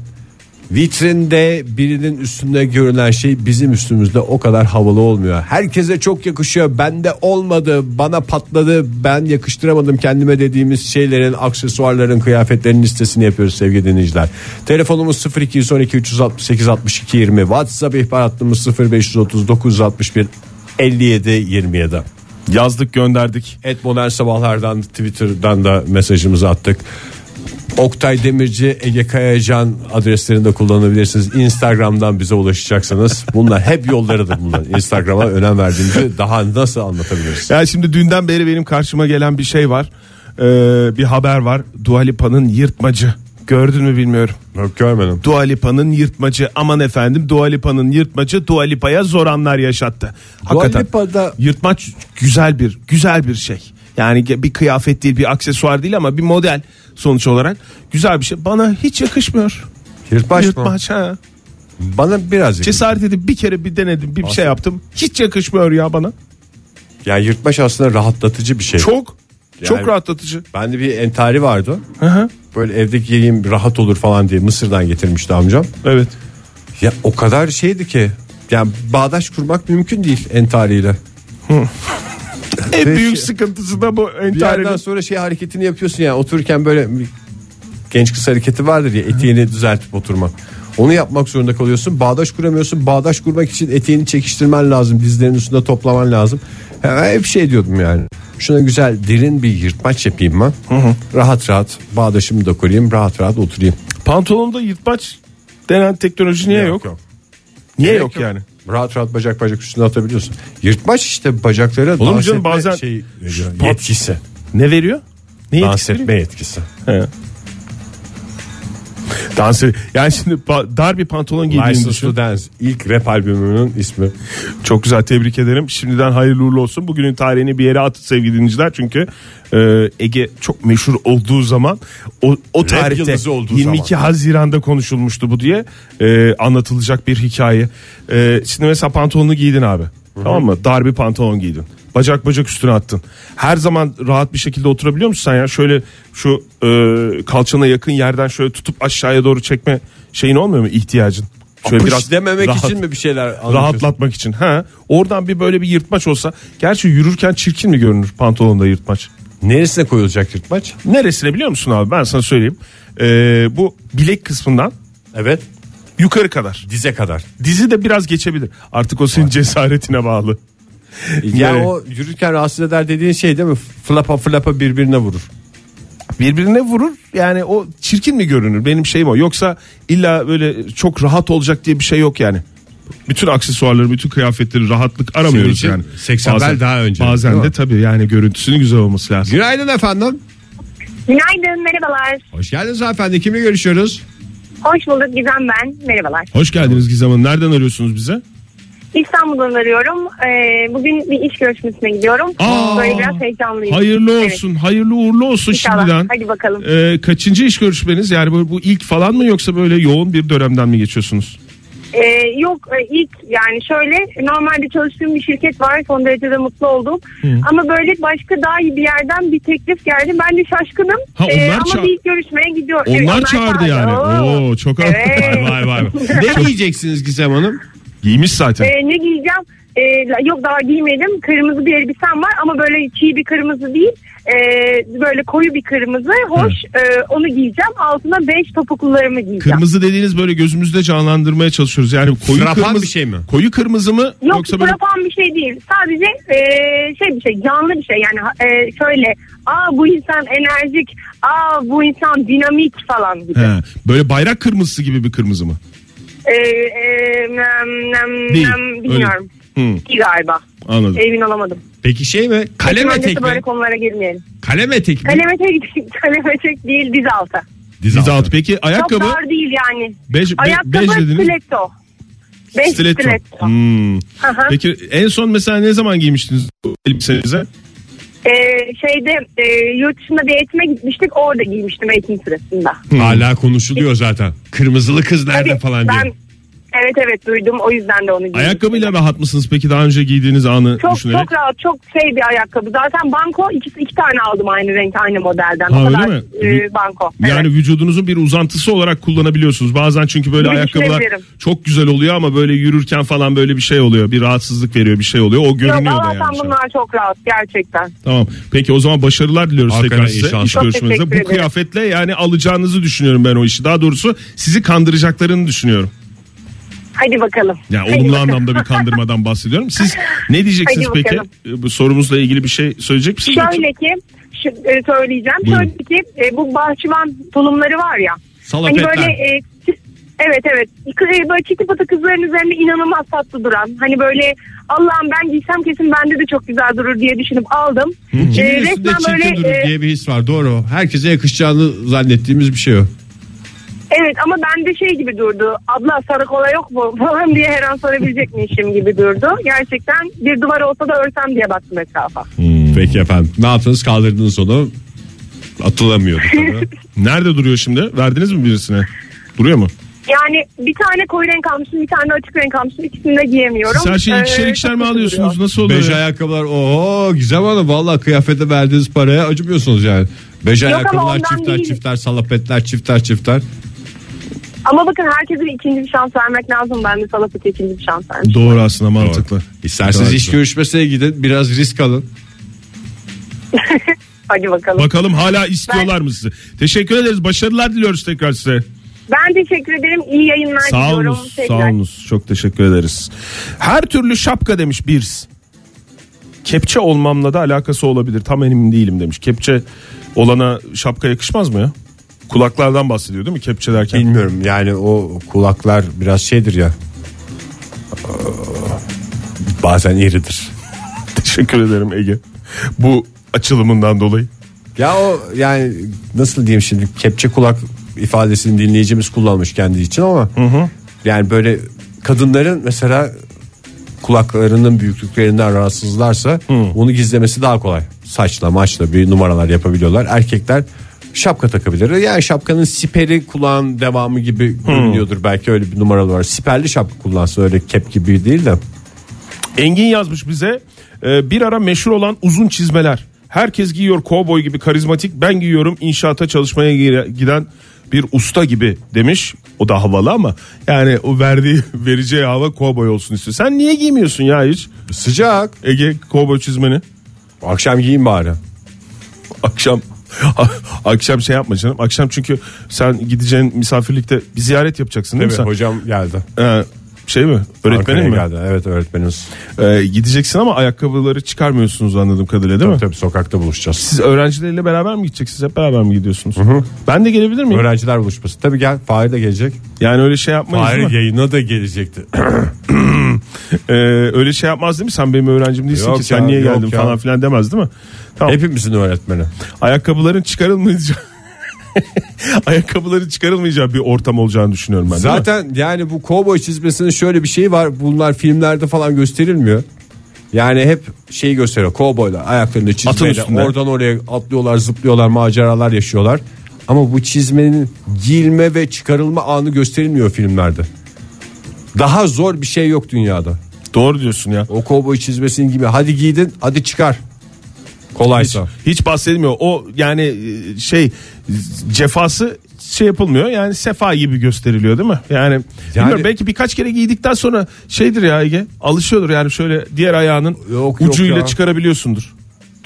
S3: Vitrinde birinin üstünde görünen şey bizim üstümüzde o kadar havalı olmuyor. Herkese çok yakışıyor. Bende olmadı, bana patladı, ben yakıştıramadım kendime dediğimiz şeylerin, aksesuarların, kıyafetlerin listesini yapıyoruz sevgili dinleyiciler. Telefonumuz 0212 368 62 20, WhatsApp ihbar hattımız 0539 61 57 27.
S4: Yazdık gönderdik.
S3: Et Modern Sabahlardan Twitter'dan da mesajımızı attık. Oktay Demirci, Ege Kayacan adreslerini de kullanabilirsiniz. Instagram'dan bize ulaşacaksanız. Bunlar hep yollarıdır bunlar. Instagram'a önem verdiğimizi daha nasıl anlatabiliriz?
S4: Ya şimdi dünden beri benim karşıma gelen bir şey var. Ee, bir haber var. Dua Lipa'nın yırtmacı. Gördün mü bilmiyorum.
S3: Yok görmedim.
S4: Dua Lipa'nın yırtmacı. Aman efendim Dua Lipa'nın yırtmacı Dua Lipa'ya zor anlar yaşattı. Hakikaten.
S3: Lipa'da-
S4: Yırtmaç güzel bir güzel bir şey. Yani ge- bir kıyafet değil bir aksesuar değil ama bir model sonuç olarak güzel bir şey. Bana hiç yakışmıyor.
S3: Yırtmaç mı?
S4: Yırtmaç ha.
S3: Bana birazcık.
S4: Cesaret edip bir kere bir denedim bir şey yaptım. Hiç yakışmıyor ya bana.
S3: Ya yırtmaç aslında rahatlatıcı bir şey.
S4: Çok çok
S3: Yani-
S4: rahatlatıcı.
S3: Bende bir entari vardı.
S4: Hı hı.
S3: Böyle evdeki giyim rahat olur falan diye Mısır'dan getirmişti amcam.
S4: Evet.
S3: Ya o kadar şeydi ki. Yani bağdaş kurmak mümkün değil entariyle.
S4: En
S3: Peki.
S4: büyük sıkıntısı da bu
S3: Bir yerden
S4: entarinin.
S3: sonra şey hareketini yapıyorsun ya otururken böyle bir genç kız hareketi vardır ya eteğini düzeltip oturmak. Onu yapmak zorunda kalıyorsun. Bağdaş kuramıyorsun. Bağdaş kurmak için eteğini çekiştirmen lazım. Dizlerin üstünde toplaman lazım. He, hep şey diyordum yani. Şuna güzel derin bir yırtmaç yapayım ben. Rahat rahat bağdaşımı da kurayım. Rahat rahat oturayım.
S4: Pantolonda yırtmaç denen teknoloji niye yok? Niye
S3: Gerek
S4: yok, yani?
S3: Rahat rahat bacak bacak üstüne atabiliyorsun. Yırtmaç işte bacaklara
S4: Olur mu
S3: dans
S4: canım
S3: etme
S4: bazen
S3: şey,
S4: Şu pat-
S3: yetkisi.
S4: Ne veriyor? Ne
S3: Dans
S4: etkisi veriyor?
S3: etme yetkisi.
S4: He. Dans ed- Yani şimdi pa- dar bir pantolon giydiğini
S3: License
S4: düşün.
S3: to Dance ilk rap albümünün ismi.
S4: Çok güzel tebrik ederim. Şimdiden hayırlı uğurlu olsun. Bugünün tarihini bir yere atın sevgili dinleyiciler. Çünkü e, Ege çok meşhur olduğu zaman o, o tarihte
S3: yıldızı olduğu
S4: 22 Haziran'da konuşulmuştu bu diye e, anlatılacak bir hikaye. E, şimdi mesela pantolonu giydin abi. Tamam mı? Dar bir pantolon giydin. Bacak bacak üstüne attın. Her zaman rahat bir şekilde oturabiliyor musun sen ya? Şöyle şu e, kalçana yakın yerden şöyle tutup aşağıya doğru çekme şeyin olmuyor mu ihtiyacın? Şöyle
S3: Pış dememek
S4: rahat-
S3: için mi bir şeyler anlatıyorsun?
S4: rahatlatmak için. Ha, oradan bir böyle bir yırtmaç olsa. Gerçi yürürken çirkin mi görünür pantolonda yırtmaç?
S3: Neresine koyulacak yırtmaç?
S4: Neresine biliyor musun abi? Ben sana söyleyeyim. Ee, bu bilek kısmından
S3: Evet.
S4: yukarı kadar.
S3: Dize kadar.
S4: Dizi de biraz geçebilir. Artık o senin cesaretine bağlı.
S3: Yani
S4: Nereye?
S3: o yürürken rahatsız eder dediğin şey değil mi? Flapa flapa birbirine vurur.
S4: Birbirine vurur. Yani o çirkin mi görünür? Benim şeyim o. Yoksa illa böyle çok rahat olacak diye bir şey yok yani. Bütün aksesuarları, bütün kıyafetleri rahatlık aramıyoruz
S3: için
S4: yani.
S3: 80'ler daha önce,
S4: Bazen
S3: değil
S4: de
S3: mi?
S4: tabii yani görüntüsünün güzel olması lazım.
S3: Günaydın efendim.
S8: Günaydın, merhabalar.
S3: Hoş geldiniz efendi. Kimle görüşüyoruz?
S8: Hoş bulduk Gizem ben, merhabalar.
S4: Hoş geldiniz Gizem Hanım. Nereden arıyorsunuz bize?
S8: İstanbul'dan arıyorum. Ee, bugün bir iş görüşmesine gidiyorum.
S4: Aa!
S8: Böyle biraz heyecanlıyım.
S4: Hayırlı
S8: Evet,
S4: olsun, hayırlı uğurlu olsun
S8: inşallah.
S4: şimdiden.
S8: Hadi bakalım.
S4: Ee, kaçıncı iş görüşmeniz? Yani bu, bu ilk falan mı yoksa böyle yoğun bir dönemden mi geçiyorsunuz?
S8: Ee, yok e, ilk yani şöyle normalde çalıştığım bir şirket var son derece de mutlu oldum. Ama böyle başka daha iyi bir yerden bir teklif geldi. Ben de şaşkınım. Ee,
S4: Ha, onlar
S8: ama
S4: ça-
S8: bir ilk görüşmeye gidiyor.
S4: Onlar,
S8: Evet,
S4: çağırdı yani.
S8: Oo.
S4: Oo, çok
S8: Evet.
S4: vay vay vay.
S3: ne giyeceksiniz Gizem Hanım?
S4: Giymiş zaten.
S8: Ee, ne giyeceğim? Ee, la- yok daha giymedim. Kırmızı bir elbisem var ama böyle çiğ bir kırmızı değil. Ee, böyle koyu bir kırmızı. Hoş. Ee, onu giyeceğim. Altına beş topuklularımı giyeceğim.
S4: Kırmızı dediğiniz böyle gözümüzde canlandırmaya çalışıyoruz. Yani koyu
S3: Frapan
S4: kırmızı
S3: bir şey mi?
S4: Koyu kırmızı mı
S8: Yok
S4: yoksa böyle
S8: frapan bir şey değil. Sadece ee, şey bir şey canlı bir şey. Yani e, şöyle aa bu insan enerjik, aa bu insan dinamik falan gibi.
S4: He, böyle bayrak kırmızısı gibi bir kırmızı mı?
S8: Ee, e, nem, nem,
S4: Değil,
S8: nem, bilmiyorum.
S4: öyle. Hı.
S8: Değil galiba.
S4: Anladım.
S8: Emin olamadım.
S3: Peki şey mi? Kalem
S8: Öncesi
S3: etek mi?
S8: böyle konulara girmeyelim.
S3: Kalem etek mi?
S8: Kaleme tek, kaleme tek değil diz altı.
S3: Diz
S4: Diz
S3: altı.
S4: altı. Peki ayakkabı?
S8: Çok dar değil yani.
S4: Beş- be-
S8: Ayakkabı
S4: beş dediniz.
S8: stiletto. Beş stiletto.
S4: Stiletto. Hmm.
S8: Hı hı.
S4: Peki en son mesela ne zaman giymiştiniz bu elbisenize?
S8: Ee, şeyde e, yurt dışında bir eğitime gitmiştik orada giymiştim eğitim sırasında.
S3: Hala konuşuluyor zaten. Kırmızılı kız nerede
S8: Tabii
S3: falan diye.
S8: ben- Evet evet duydum o yüzden de onu giydim.
S4: Ayakkabıyla rahat mısınız peki daha önce giydiğiniz anı
S8: çok
S4: düşünerek?
S8: çok rahat çok şey bir ayakkabı. Zaten banko ikisi iki tane aldım aynı renk aynı modelden.
S4: Ha,
S8: o
S4: öyle
S8: kadar
S4: mi?
S8: e, banko.
S4: Yani
S8: evet.
S4: vücudunuzun bir uzantısı olarak kullanabiliyorsunuz. Bazen çünkü böyle
S8: Bunu
S4: ayakkabılar
S8: düşünebilirim.
S4: çok güzel oluyor ama böyle yürürken falan böyle bir şey oluyor. Bir rahatsızlık veriyor bir şey oluyor. O görünüyor
S8: Yok,
S4: da
S8: Allah'tan
S4: yani. şu an.
S8: bunlar çok rahat gerçekten.
S4: Tamam. Peki o zaman başarılar diliyoruz
S3: Hakikaten
S4: tekrar
S3: iyi
S4: size iş
S3: şanslar.
S8: Çok
S4: görüşmenizde.
S8: teşekkür
S4: Bu
S8: ederim.
S4: kıyafetle yani alacağınızı düşünüyorum ben o işi. Daha doğrusu sizi kandıracaklarını düşünüyorum.
S8: Hadi bakalım.
S4: Yani
S8: Hadi
S4: olumlu
S8: bakalım.
S4: anlamda bir kandırmadan bahsediyorum. Siz ne diyeceksiniz
S8: Hadi
S4: peki?
S8: bakalım.
S4: E, Bu sorumuzla ilgili bir şey söyleyecek misiniz?
S8: Şöyle ki şu- e, söyleyeceğim.
S4: Buyurun.
S8: Şöyle ki e, bu bahçıvan tulumları var ya.
S3: Salafetler.
S8: Hani böyle e, çi- evet evet. Kı- e, Böyle çiti pata kızların üzerinde inanılmaz tatlı duran. Hani böyle Allah'ım ben giysem kesin bende de çok güzel durur diye düşünüp aldım. E,
S3: Kimin üstünde çirkin durur
S8: e,
S3: diye bir his var doğru. Herkese yakışacağını zannettiğimiz bir şey o.
S8: evet ama bende şey gibi durdu. Abla sarı kola yok mu falan diye her an sorabilecekmişim gibi durdu. Gerçekten bir duvar olsa da örsem diye baktım etrafa.
S4: Hmm.
S3: Peki efendim. Ne yaptınız kaldırdınız onu. Atılamıyordu tabii.
S4: Nerede duruyor şimdi? Verdiniz mi birisine? Duruyor mu?
S8: Yani bir tane koyu renk almışım, bir tane açık renk almışım. İkisini de giyemiyorum.
S4: Siz her şeyi
S8: Ee,
S4: ikişer ikişer
S8: çok
S4: mi
S8: kötü
S4: alıyorsunuz?
S8: duruyor.
S4: Nasıl oluyor?
S3: Bej
S4: ya?
S3: ayakkabılar ooo Gizem Hanım valla kıyafete verdiğiniz paraya acımıyorsunuz yani. Bej
S8: Yok ama
S3: ayakkabılar
S8: ondan
S3: çifter
S8: değil.
S3: çifter salapetler çifter çifter.
S8: Ama bakın herkese bir ikinci bir şans vermek lazım. Ben de Salafet'e ikinci bir şans vermişim.
S4: Doğru aslında mantıklı.
S3: İsterseniz
S4: Doğru.
S3: iş görüşmesine gidin biraz risk alın.
S8: Hadi bakalım.
S4: Bakalım hala istiyorlar mı sizi? Teşekkür ederiz. Başarılar diliyoruz tekrar size.
S8: Ben teşekkür ederim. İyi yayınlar
S4: Sağ
S8: diliyorum.
S4: olunuz, sağ olunuz. Çok teşekkür ederiz. Her türlü şapka demiş bir. Kepçe olmamla da alakası olabilir. Tam emin değilim demiş. Kepçe olana şapka yakışmaz mı ya? Kulaklardan bahsediyor değil mi kepçe derken?
S3: Bilmiyorum yani o kulaklar biraz şeydir ya. Ee, Bazen iridir.
S4: Teşekkür ederim Ege. Bu açılımından dolayı.
S3: Ya o yani nasıl diyeyim şimdi kepçe kulak ifadesini dinleyicimiz kullanmış kendi için ama yani böyle kadınların mesela kulaklarının büyüklüklerinden rahatsızlarsa onu gizlemesi daha kolay. Saçla maçla bir numaralar yapabiliyorlar. Erkekler şapka takabilir. Yani şapkanın siperi kulağın devamı gibi görünüyordur belki öyle bir numaralı var. Siperli şapka kullansa öyle kep gibi değil de.
S4: Engin yazmış bize e, bir ara meşhur olan uzun çizmeler. Herkes giyiyor kovboy gibi karizmatik ben giyiyorum inşaata çalışmaya gire- giden bir usta gibi demiş. O da havalı ama yani o verdiği vereceği hava kovboy olsun istiyor. Sen niye giymiyorsun ya hiç
S3: Sıcak.
S4: Ege kovboy çizmeni?
S3: Akşam giyin bari.
S4: Akşam akşam şey yapma canım. Akşam çünkü sen gideceğin misafirlikte bir ziyaret yapacaksın değil
S3: Evet,
S4: mi sen?
S3: hocam geldi.
S4: Ee, şey mi? Öğretmenin
S3: Ankara'ya
S4: mi?
S3: Geldi. Evet öğretmeniniz.
S4: Ee, gideceksin ama ayakkabıları çıkarmıyorsunuz anladığım kadarıyla değil mi?
S3: Tabii sokakta buluşacağız.
S4: Siz öğrencileriyle beraber mi gideceksiniz? Hep beraber mi gidiyorsunuz? Ben de gelebilir miyim?
S3: Öğrenciler buluşması. Tabii gel Fahir de gelecek.
S4: yani öyle şey yapmayız değil mi?
S3: yayına da gelecekti.
S4: Ee, öyle şey yapmaz değil mi? Sen benim öğrencim değilsin
S3: Yok
S4: ki.
S3: ya,
S4: Sen niye
S3: yok
S4: geldin
S3: ya.
S4: falan filan demez değil mi? Tamam.
S3: Hepimizin öğretmeni.
S4: Ayakkabıların çıkarılmayacağı ayakkabıların çıkarılmayacağı bir ortam olacağını düşünüyorum ben. değil mi?
S3: Zaten yani bu kovboy çizmesinin şöyle bir şeyi var. Bunlar filmlerde falan gösterilmiyor. Yani hep şeyi gösteriyor. Kovboylar ayaklarını çizmeyle
S4: üstünde.
S3: oradan oraya atlıyorlar, zıplıyorlar, maceralar yaşıyorlar. Ama bu çizmenin giyilme ve çıkarılma anı gösterilmiyor filmlerde. Daha zor bir şey yok dünyada.
S4: doğru diyorsun ya.
S3: O kovboy çizmesinin gibi hadi giydin, hadi çıkar. Kolaysa.
S4: Hiç bahsedilmiyor. O yani e, şey cefası şey yapılmıyor. Yani sefa gibi gösteriliyor değil mi? Yani, bilmiyorum belki birkaç kere giydikten sonra şeydir ya Ege alışıyordur yani şöyle diğer ayağının
S3: Yok, yok
S4: ucuyla
S3: ya.
S4: çıkarabiliyorsundur.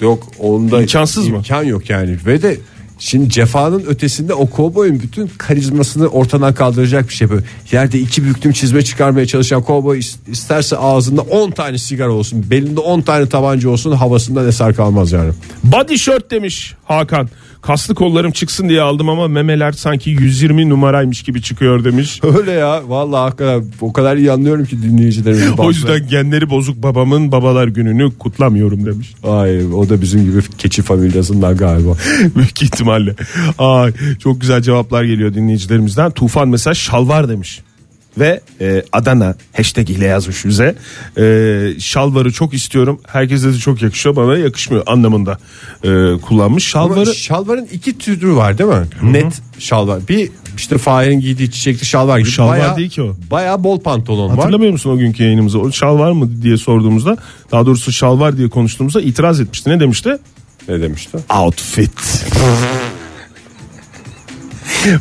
S3: Yok onda
S4: İmkansız mı?
S3: imkan yok yani ve de şimdi cefanın ötesinde o kovboyun bütün karizmasını ortadan kaldıracak bir şey böyle. Yerde iki büklüm çizme çıkarmaya çalışan kovboy is- isterse ağzında 10 tane sigara olsun, belinde 10 tane tabanca olsun havasından eser kalmaz yani.
S4: Body shirt demiş Hakan. Kaslı kollarım çıksın diye aldım ama memeler sanki 120 numaraymış gibi çıkıyor demiş.
S3: Öyle ya vallahi hakikaten o kadar iyi anlıyorum ki dinleyicilerimizi.
S4: O yüzden genleri bozuk babamın babalar gününü kutlamıyorum demiş.
S3: Ay o da bizim gibi keçi familyasından galiba.
S4: Büyük ihtimalle. Ay, çok güzel cevaplar geliyor dinleyicilerimizden. Tufan mesela şalvar demiş. Ve e, Adana hashtag ile yazmış bize. E, şalvarı çok istiyorum. Herkese de çok yakışıyor. Bana yakışmıyor anlamında e, kullanmış.
S3: Ama
S4: Şalvarı
S3: şalvarın iki türü var değil mi? Net şalvar. Bir işte Fahir'in giydiği çiçekli şalvar gibi.
S4: şalvar değil ki o.
S3: Baya bol pantolon var.
S4: hatırlamıyor musun o günkü yayınımızı? O şalvar mı diye sorduğumuzda daha doğrusu şalvar diye konuştuğumuzda itiraz etmişti. Ne demişti?
S3: Ne demişti?
S4: Outfit.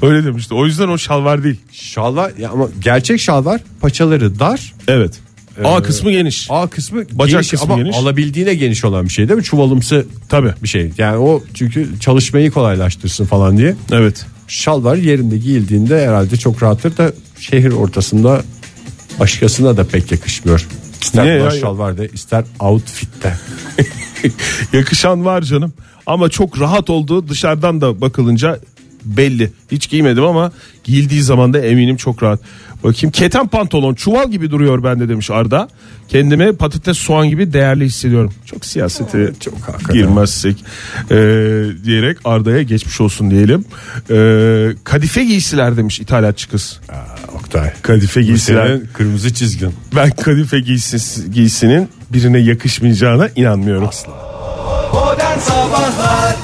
S4: Öyle demişti. O yüzden o şalvar değil.
S3: Şalvar ya ama gerçek şalvar paçaları dar.
S4: Evet. A kısmı geniş.
S3: A kısmı
S4: Bacak
S3: geniş
S4: kısmı
S3: ama
S4: geniş.
S3: alabildiğine geniş olan bir şey değil mi? Çuvalımsı
S4: Tabii.
S3: bir şey. Yani o çünkü çalışmayı kolaylaştırsın falan diye.
S4: Evet.
S3: Şalvar yerinde giyildiğinde herhalde çok rahattır da şehir ortasında başkasına da pek yakışmıyor. İster
S4: Niye ya?
S3: buna şalvarda ister outfitte.
S4: Yakışan var canım. Ama çok rahat olduğu dışarıdan da bakılınca belli. Hiç giymedim ama giyildiği zaman da eminim çok rahat. Bakayım keten pantolon çuval gibi duruyor bende demiş Arda. Kendimi patates soğan gibi değerli hissediyorum. Çok siyasete çok girmezsek e, diyerek Arda'ya geçmiş olsun diyelim. E, kadife giysiler demiş ithalatçı kız.
S3: Oktay.
S4: Kadife giysiler.
S3: Senin kırmızı çizgin.
S4: Ben kadife giysisi, giysinin birine yakışmayacağına inanmıyorum.
S2: Modern Sabahlar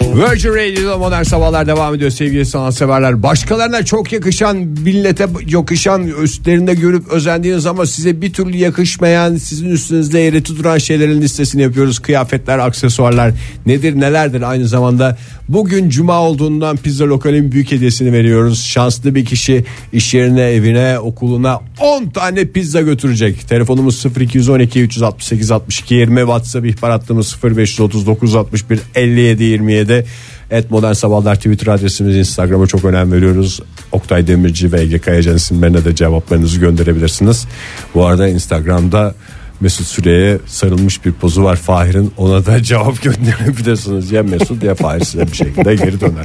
S3: Virgin Radio'da modern sabahlar devam ediyor sevgili sanatseverler. Başkalarına çok yakışan, millete yakışan, üstlerinde görüp özendiğiniz ama size bir türlü yakışmayan, sizin üstünüzde yeri tuturan şeylerin listesini yapıyoruz. Kıyafetler, aksesuarlar nedir nelerdir aynı zamanda. Bugün cuma olduğundan pizza lokalin büyük hediyesini veriyoruz. Şanslı bir kişi iş yerine, evine, okuluna 10 tane pizza götürecek. Telefonumuz 0212 368 62 20 WhatsApp ihbar hattımız 0539 61 57 27. Et Modern Sabahlar Twitter adresimiz Instagram'a çok önem veriyoruz. Oktay Demirci ve Ege Kayacan isimlerine de cevaplarınızı gönderebilirsiniz. Bu arada Instagram'da Mesut Süre'ye sarılmış bir pozu var Fahir'in ona da cevap gönderebilirsiniz. Ya Mesut ya Fahir size bir şekilde geri döner.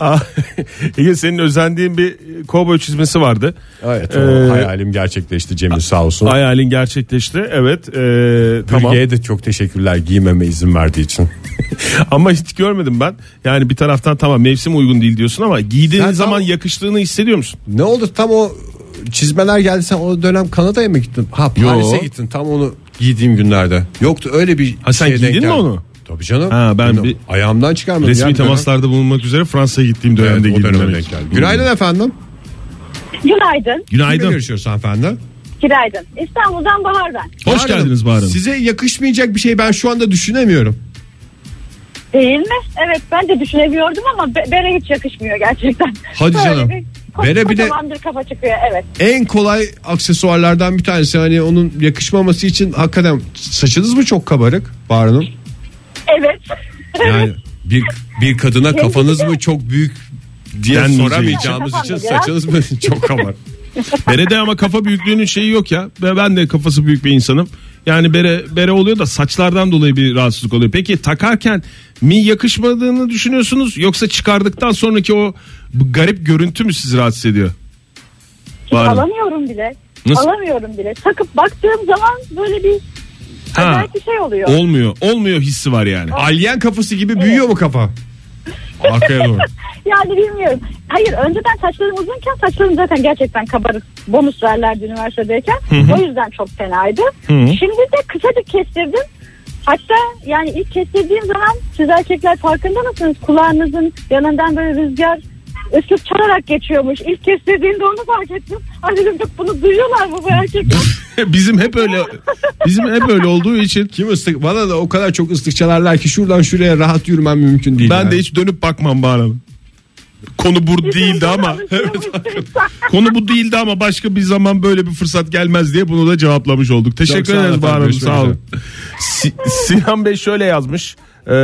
S4: Aa, Ege senin özendiğin bir kovboy çizmesi vardı.
S3: Evet o
S4: Ee,
S3: hayalim gerçekleşti Cemil sağ olsun.
S4: Hayalin gerçekleşti. Evet. ee, tamam.
S3: Bürge'ye de çok teşekkürler giymeme izin verdiği için.
S4: Ama hiç görmedim ben. Yani bir taraftan tamam mevsim uygun değil diyorsun ama giydiğin
S3: Sen
S4: zaman
S3: tam-
S4: yakıştığını hissediyor musun?
S3: Ne oldu tam o çizmeler geldi sen o dönem Kanada'ya mı gittin? Ha Paris'e
S4: Yo.
S3: gittin tam onu giydiğim günlerde. Yoktu öyle bir
S4: Ha, sen
S3: şeye denk
S4: giydin mi
S3: geldi.
S4: onu?
S3: Tabii canım.
S4: Ha, ben
S3: Bilmiyorum.
S4: bir-
S3: ayağımdan çıkarmadım. ya
S4: Resmi
S3: bir dönem.
S4: temaslarda bulunmak üzere Fransa'ya gittiğim
S3: Evet,
S4: dönemde
S3: o
S4: giydim.
S3: döneme
S4: demek.
S3: denk geldi. Günaydın efendim.
S9: Günaydın.
S3: Kimle
S4: Günaydın.
S3: görüşüyoruz hanımefendi?
S9: Günaydın. İstanbul'dan Bahar ben.
S4: Hoş
S3: Bahar Hanım,
S4: geldiniz Bahar Hanım.
S3: Size yakışmayacak bir şey ben şu anda düşünemiyorum.
S9: Değil mi? Evet ben de düşünemiyordum ama be- bere hiç yakışmıyor gerçekten.
S3: Hadi canım. Bere
S9: bere
S3: bir de-
S9: bile... kafa çıkıyor evet.
S3: En kolay aksesuarlardan bir tanesi hani onun yakışmaması için hakikaten saçınız mı çok kabarık Bahar Hanım?
S9: Evet.
S3: Yani bir bir kadına kafanız mı çok büyük diye
S4: Denmeyecek.
S3: soramayacağımız için
S9: Kafam da biraz-
S3: saçınız mı çok kabarık.
S4: Bere'de ama kafa büyüklüğünün şeyi yok ya. Ve Ben de kafası büyük bir insanım. Yani bere bere oluyor da saçlardan dolayı bir rahatsızlık oluyor. Peki takarken mi yakışmadığını düşünüyorsunuz yoksa çıkardıktan sonraki o bu garip görüntü mü sizi rahatsız ediyor?
S9: Hiç
S4: Var mı?
S9: alamıyorum bile.
S4: Nasıl?
S9: Alamıyorum bile. Takıp baktığım zaman böyle bir
S4: Ha.
S9: acayip bir şey oluyor.
S4: Olmuyor. Olmuyor hissi var yani.
S3: Alien kafası gibi büyüyor mu kafa? Arkaya doğru.
S9: Yani bilmiyorum. Hayır önceden saçlarım uzunken saçlarım zaten gerçekten kabarık. Bonus verlerdi üniversitedeyken. O yüzden çok fenaydı. Şimdi de kısacık kestirdim. Hatta yani ilk kestirdiğim zaman siz erkekler farkında mısınız? Kulağınızın yanından böyle rüzgar üslup çalarak geçiyormuş. İlk kestirdiğimde onu fark ettim. Ay dedim "Yok, bunu duyuyorlar mı bu erkekler?
S4: bizim hep öyle bizim hep öyle olduğu için
S3: Kim ıslık? Bana da o kadar çok ıslık çalarlar ki şuradan şuraya rahat yürümem mümkün değil.
S4: ben
S3: yani.
S4: de hiç dönüp bakmam Bahar Hanım. Konu bu değildi ama konu bu değildi ama başka bir zaman böyle bir fırsat gelmez diye bunu da cevaplamış olduk.
S3: Çok
S4: Teşekkür
S3: sağ olun
S4: ederiz Bahar Hanım
S3: efendim,
S4: sağ olun.
S3: görüşmek
S4: Si- Sinan Bey şöyle yazmış. Ee,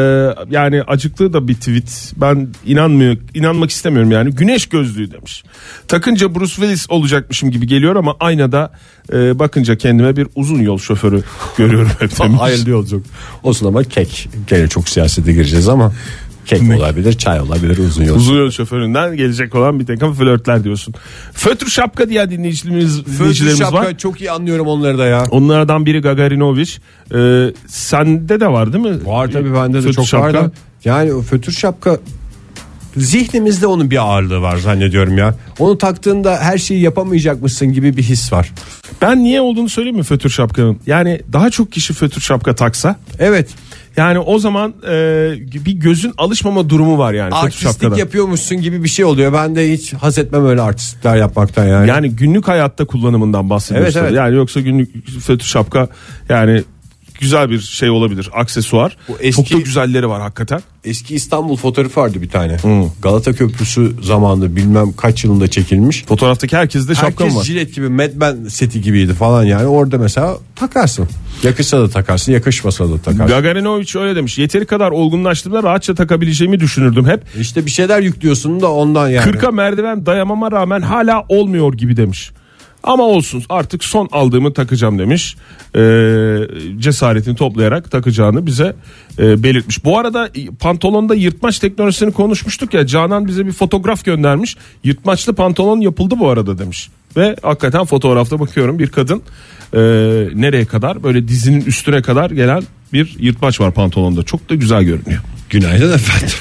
S4: yani acıktığı da bir tweet. Ben inanmıyor, inanmak istemiyorum yani. Güneş gözlüğü demiş. Takınca Bruce Willis olacakmışım gibi geliyor ama aynada e, bakınca kendime bir uzun yol şoförü görüyorum hep demiş.
S3: Hayırlı yolculuk. Olsun ama kek. Gene çok siyasete gireceğiz ama kek olabilir, çay olabilir, uzun yol.
S4: Uzun yol şoföründen gelecek olan bir takım flörtler diyorsun. Fötr şapka diye dinleyicilerimiz, dinleyicilerimiz var.
S3: çok iyi anlıyorum onları da ya.
S4: Onlardan biri Gagarinovic. Ee, sende de var değil mi?
S3: Var tabii bende de
S4: Fötr
S3: çok var da. Yani o fötür şapka zihnimizde onun bir ağırlığı var zannediyorum ya. Onu taktığında her şeyi yapamayacakmışsın gibi bir his var.
S4: Ben niye olduğunu söyleyeyim mi fötür şapkanın? Yani daha çok kişi fötür şapka taksa
S3: Evet.
S4: yani o zaman e, bir gözün alışmama durumu var yani fötür şapkada.
S3: Artistlik yapıyormuşsun gibi bir şey oluyor. Ben de hiç haz etmem öyle artistlikler yapmaktan yani.
S4: yani günlük hayatta kullanımından bahsediyoruz.
S3: Evet, evet.
S4: tabii. Yani yoksa günlük fötür şapka yani güzel bir şey olabilir aksesuar.
S3: Bu eski-
S4: Çok da güzelleri var hakikaten.
S3: Eski İstanbul fotoğrafı vardı bir tane. Galata Köprüsü zamanında bilmem kaç yılında çekilmiş.
S4: Fotoğraftaki herkeste şapka mı
S3: Herkes
S4: var?
S3: jilet gibi Mad Men seti gibiydi falan yani. Orada mesela takarsın. Yakışsa da takarsın, yakışmasa da takarsın.
S4: Gagarinovic öyle demiş. Yeteri kadar olgunlaştığımda rahatça takabileceğimi düşünürdüm hep.
S3: İşte bir şeyler yüklüyorsun da ondan yani.
S4: Kırka merdiven dayamama rağmen hala olmuyor gibi demiş. Ama olsun artık son aldığımı takacağım demiş. Ee, cesaretini toplayarak takacağını bize e, belirtmiş. Bu arada e, pantolonda yırtmaç teknolojisini konuşmuştuk ya. Canan bize bir fotoğraf göndermiş. Yırtmaçlı pantolon yapıldı bu arada demiş. Ve hakikaten fotoğrafta bakıyorum bir kadın e, nereye kadar böyle dizinin üstüne kadar gelen bir yırtmaç var pantolonda. Çok da güzel görünüyor.
S3: Günaydın efendim.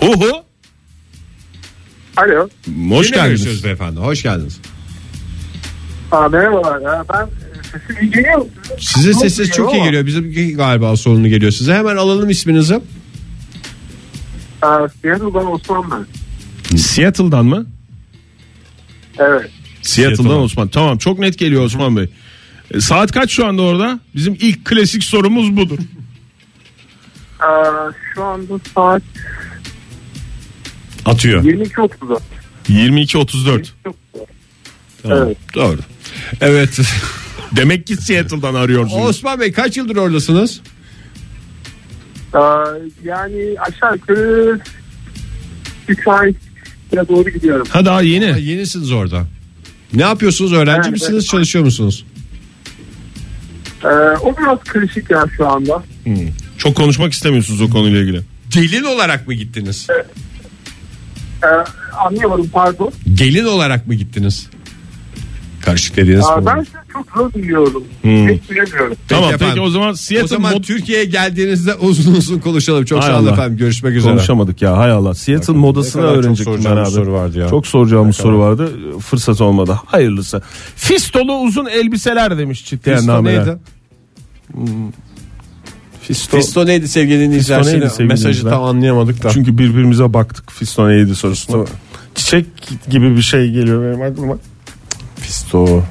S4: Oho.
S10: Alo.
S4: Hoş
S3: Kimle
S4: geldiniz.
S3: görüşüyoruz beyefendi. Hoş geldiniz.
S10: Aa, merhabalar. Ya. Ben e, sesim iyi geliyor mu?
S3: Sizin
S10: Yok,
S3: sesiniz çok iyi
S10: ama-
S3: geliyor. Bizim galiba sorunu geliyor size. Hemen alalım isminizi.
S10: Aa, Seattle'dan Osman ben.
S4: Seattle'dan mı?
S10: Evet.
S4: Seattle'dan Osman. Tamam çok net geliyor Osman Bey. E, saat kaç şu anda orada? Bizim ilk klasik sorumuz budur.
S10: Aa, şu anda saat
S3: Atıyor.
S10: 22.30'da.
S4: 22.34.
S10: Evet.
S3: Doğru. Evet.
S4: Demek ki Seattle'dan arıyorsunuz.
S3: Osman Bey kaç yıldır oradasınız?
S10: Ee, yani aşağı yukarı 3 ay ya doğru gidiyorum.
S4: Ha daha
S3: Ha,
S4: yeni.
S3: yenisiniz orada. Ne yapıyorsunuz? Öğrenci
S10: Evet,
S3: misiniz?
S10: evet.
S3: Çalışıyor musunuz?
S10: Ee, o biraz karışık ya şu anda.
S4: Çok konuşmak istemiyorsunuz o konuyla ilgili.
S3: Gelin olarak mı gittiniz?
S10: Ee, anlayamadım pardon.
S3: Gelin olarak mı gittiniz? Karışık dediğiniz
S10: Ee,
S3: konu.
S10: ben sizi çok zor duyuyorum. Hiç bilemiyorum.
S4: tamam peki
S3: efendim.
S4: o zaman
S3: O
S4: Seattle
S3: zaman
S4: Mod-
S3: Türkiye'ye geldiğinizde uzun uzun konuşalım. Çok
S4: Hay
S3: sağ olun
S4: Allah.
S3: efendim. Görüşmek üzere.
S4: Konuşamadık ya hay Allah. Seattle modasını
S3: ne kadar çok
S4: öğrenecektim ben
S3: soracağımız
S4: abi.
S3: soru vardı ya.
S4: Çok soracağımız soru vardı. Fırsat olmadı. Hayırlısı. Fistolu uzun elbiseler demiş çitleyen
S3: Fisto
S4: nameler.
S3: neydi?
S4: Fisto.
S3: Fisto neydi sevgili dinleyiciler?
S4: Fisto neydi
S3: Şimdi
S4: sevgili
S3: Mesajı
S4: dinleyiciler?
S3: tam anlayamadık da.
S4: Çünkü birbirimize baktık Fisto neydi sorusuna. Çiçek gibi bir şey geliyor benim aklıma.
S3: Fisto.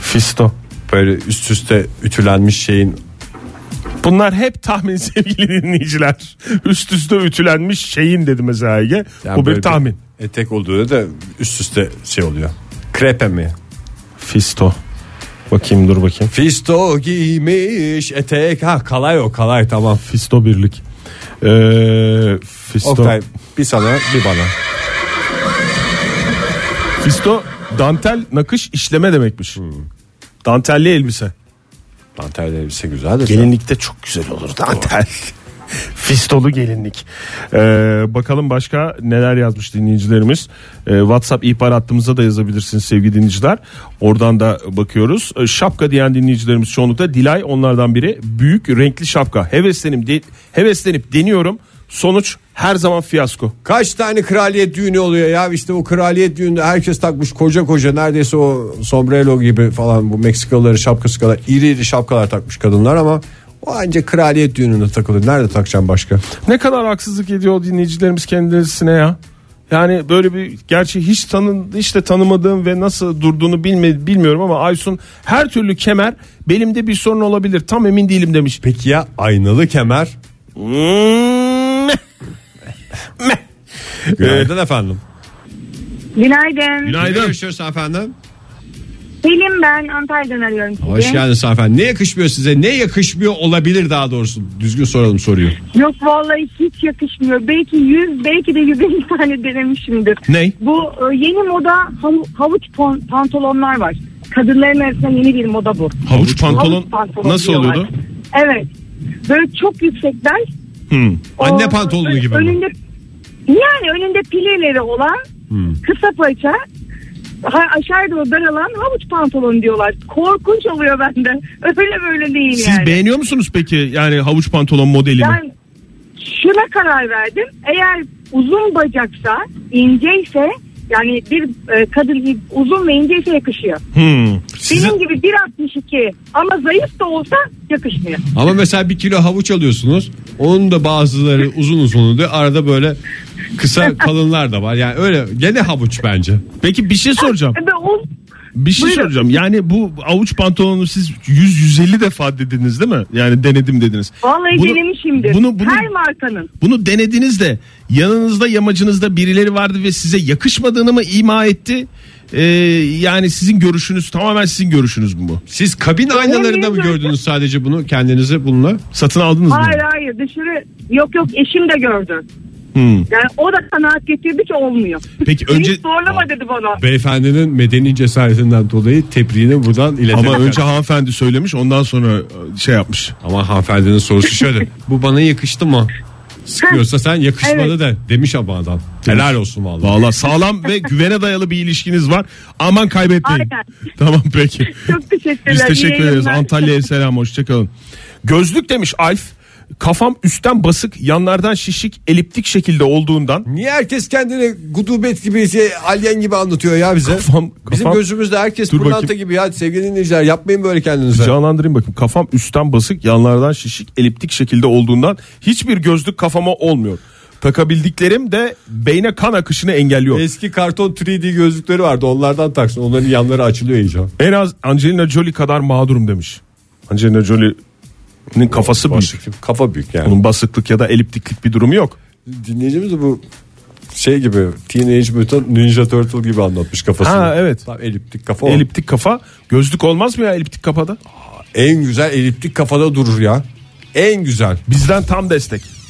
S4: Fisto.
S3: Böyle üst üste ütülenmiş şeyin
S4: Bunlar hep tahmin sevgili dinleyiciler. Üst üste ütülenmiş şeyin dedi mesela Ege.
S3: Yani
S4: Bu
S3: böyle
S4: bir tahmin.
S3: Etek olduğu da üst üste şey oluyor. Krepe mi?
S4: Fisto. Bakayım dur bakayım.
S3: Fisto giymiş etek. Ha kalay o kalay tamam.
S4: Fisto birlik. Ee, Fisto.
S3: Oktay bir sana bir bana.
S4: Fisto dantel nakış işleme demekmiş. Dantelli elbise.
S3: Dantel elbise güzeldir.
S4: Gelinlikte çok güzel olur dantel. Fistolu gelinlik. Ee, bakalım başka neler yazmış dinleyicilerimiz. Ee, WhatsApp ihbar hattımıza da yazabilirsiniz sevgili dinleyiciler. Oradan da bakıyoruz. Ee, şapka diyen dinleyicilerimiz çoğunlukla Dilay onlardan biri. Büyük renkli şapka. Heveslenim de- heveslenip deniyorum. Sonuç her zaman fiyasko.
S3: Kaç tane kraliyet düğünü oluyor ya işte o kraliyet düğününde herkes takmış koca koca neredeyse o sombrero gibi falan bu Meksikalıların şapkası kadar iri iri şapkalar takmış kadınlar ama o anca kraliyet düğününde takılır. Nerede takacağım başka?
S4: Ne kadar haksızlık ediyor o dinleyicilerimiz kendilerine ya. Yani böyle bir gerçi hiç tanın hiç de tanımadığım ve nasıl durduğunu bilme, bilmiyorum ama Aysun her türlü kemer belimde bir sorun olabilir. Tam emin değilim demiş.
S3: Peki ya aynalı kemer? Hmm. Günaydın efendim.
S8: Günaydın.
S3: Günaydın. Görüşürüz efendim.
S8: Selim ben Antalya'dan arıyorum sizi.
S3: Hoş geldiniz efendim. Ne yakışmıyor size? Ne yakışmıyor olabilir daha doğrusu? Düzgün soralım soruyu.
S8: Yok vallahi hiç yakışmıyor. Belki 100 belki de 150 tane denemişimdir.
S3: Ney?
S8: Bu e, yeni moda hav- havuç pon- pantolonlar var. Kadınların arasında yeni bir moda bu.
S4: Havuç
S8: Havuç pantolon diyorlar. Evet. Böyle çok yüksekler.
S3: Anne pantolonu gibi mi?
S8: Önünde, yani önünde pileleri olan kısa paça ha- aşağıya doğru daralan havuç pantolon diyorlar. Korkunç oluyor bende. Öyle böyle değil
S4: Siz
S8: yani.
S4: beğeniyor musunuz peki yani havuç pantolon modelini?
S8: Ben şuna karar verdim. Eğer uzun bacaksa, inceyse yani bir e, kadın uzun ve inceyse yakışıyor.
S4: Hmm. Size-
S8: Benim gibi 1.62 ama zayıf da olsa yakışmıyor.
S3: Ama mesela bir kilo havuç alıyorsunuz. Onun da bazıları uzun uzun oluyor. Arada böyle kısa kalınlar da var. Yani öyle gene havuç bence.
S4: Peki bir şey soracağım.
S8: E, ben o-
S4: Bir şey
S8: Buyurun.
S4: soracağım. Yani bu havuç pantolonu siz 100-150 defa dediniz değil mi? Yani denedim dediniz.
S8: Vallahi
S4: Bunu-
S8: denemişimdir.
S4: Bunu, bunu,
S8: Her markanın.
S4: Bunu denediniz de yanınızda yamacınızda birileri vardı ve size yakışmadığını mı ima etti? Ee, yani sizin görüşünüz tamamen sizin görüşünüz mü bu?
S3: Siz kabin aynalarında mı gördünüz sadece bunu kendinizi bununla?
S4: Satın aldınız mı?
S8: Hayır hayır dışarı yok yok eşim de gördü.
S4: Hmm.
S8: Yani o da kanaat getirdi ki olmuyor.
S4: Peki önce
S8: Hiç zorlama dedi bana.
S3: Beyefendinin medeni cesaretinden dolayı tebriğini buradan iletelim.
S4: ama önce hanımefendi söylemiş ondan sonra e, şey yapmış.
S3: ama hanımefendinin sorusu şöyle. Bu bana yakıştı mı? Sıkıyorsa sen yakışmadı
S8: Evet.
S3: da demiş ama adam. Helal olsun vallahi.
S4: Valla sağlam ve güvene dayalı bir ilişkiniz var. Aman kaybetmeyin.
S8: Aynen.
S4: Tamam peki.
S8: Çok teşekkürler.
S4: Biz
S8: iyi
S4: teşekkür ederiz.
S8: yayınlar.
S4: Antalya'ya selam hoşçakalın. Gözlük demiş Alf. Kafam üstten basık, yanlardan şişik, eliptik şekilde olduğundan
S3: Niye herkes kendini gudubet gibi şey, alien gibi anlatıyor ya bize?
S4: Kafam-
S3: Bizim
S4: kafam-
S3: gözümüzde herkes
S4: Dur
S3: pırlanta
S4: bakayım.
S3: gibi ya sevgili dinleyiciler yapmayın böyle kendinize.
S4: Canlandırayım bakayım. Kafam üstten basık, yanlardan şişik, eliptik şekilde olduğundan hiçbir gözlük kafama olmuyor. Takabildiklerim de beyne kan akışını engelliyor.
S3: Eski karton 3D gözlükleri vardı onlardan taksın onların yanları açılıyor iyice.
S4: En az Angelina Jolie kadar mağdurum demiş. Angelina Jolie'nin kafası büyük.
S3: Kafa büyük yani.
S4: Onun basıklık ya da eliptiklik bir durumu yok.
S3: Dinleyicimiz de bu şey gibi Teenage Mutant Ninja Turtle gibi anlatmış kafasını.
S4: Ha, evet.
S3: Tam eliptik kafa. o.
S4: Eliptik kafa gözlük olmaz mı ya eliptik kafada?
S3: En güzel eliptik kafada durur ya.
S11: en güzel.
S3: Bizden tam destek.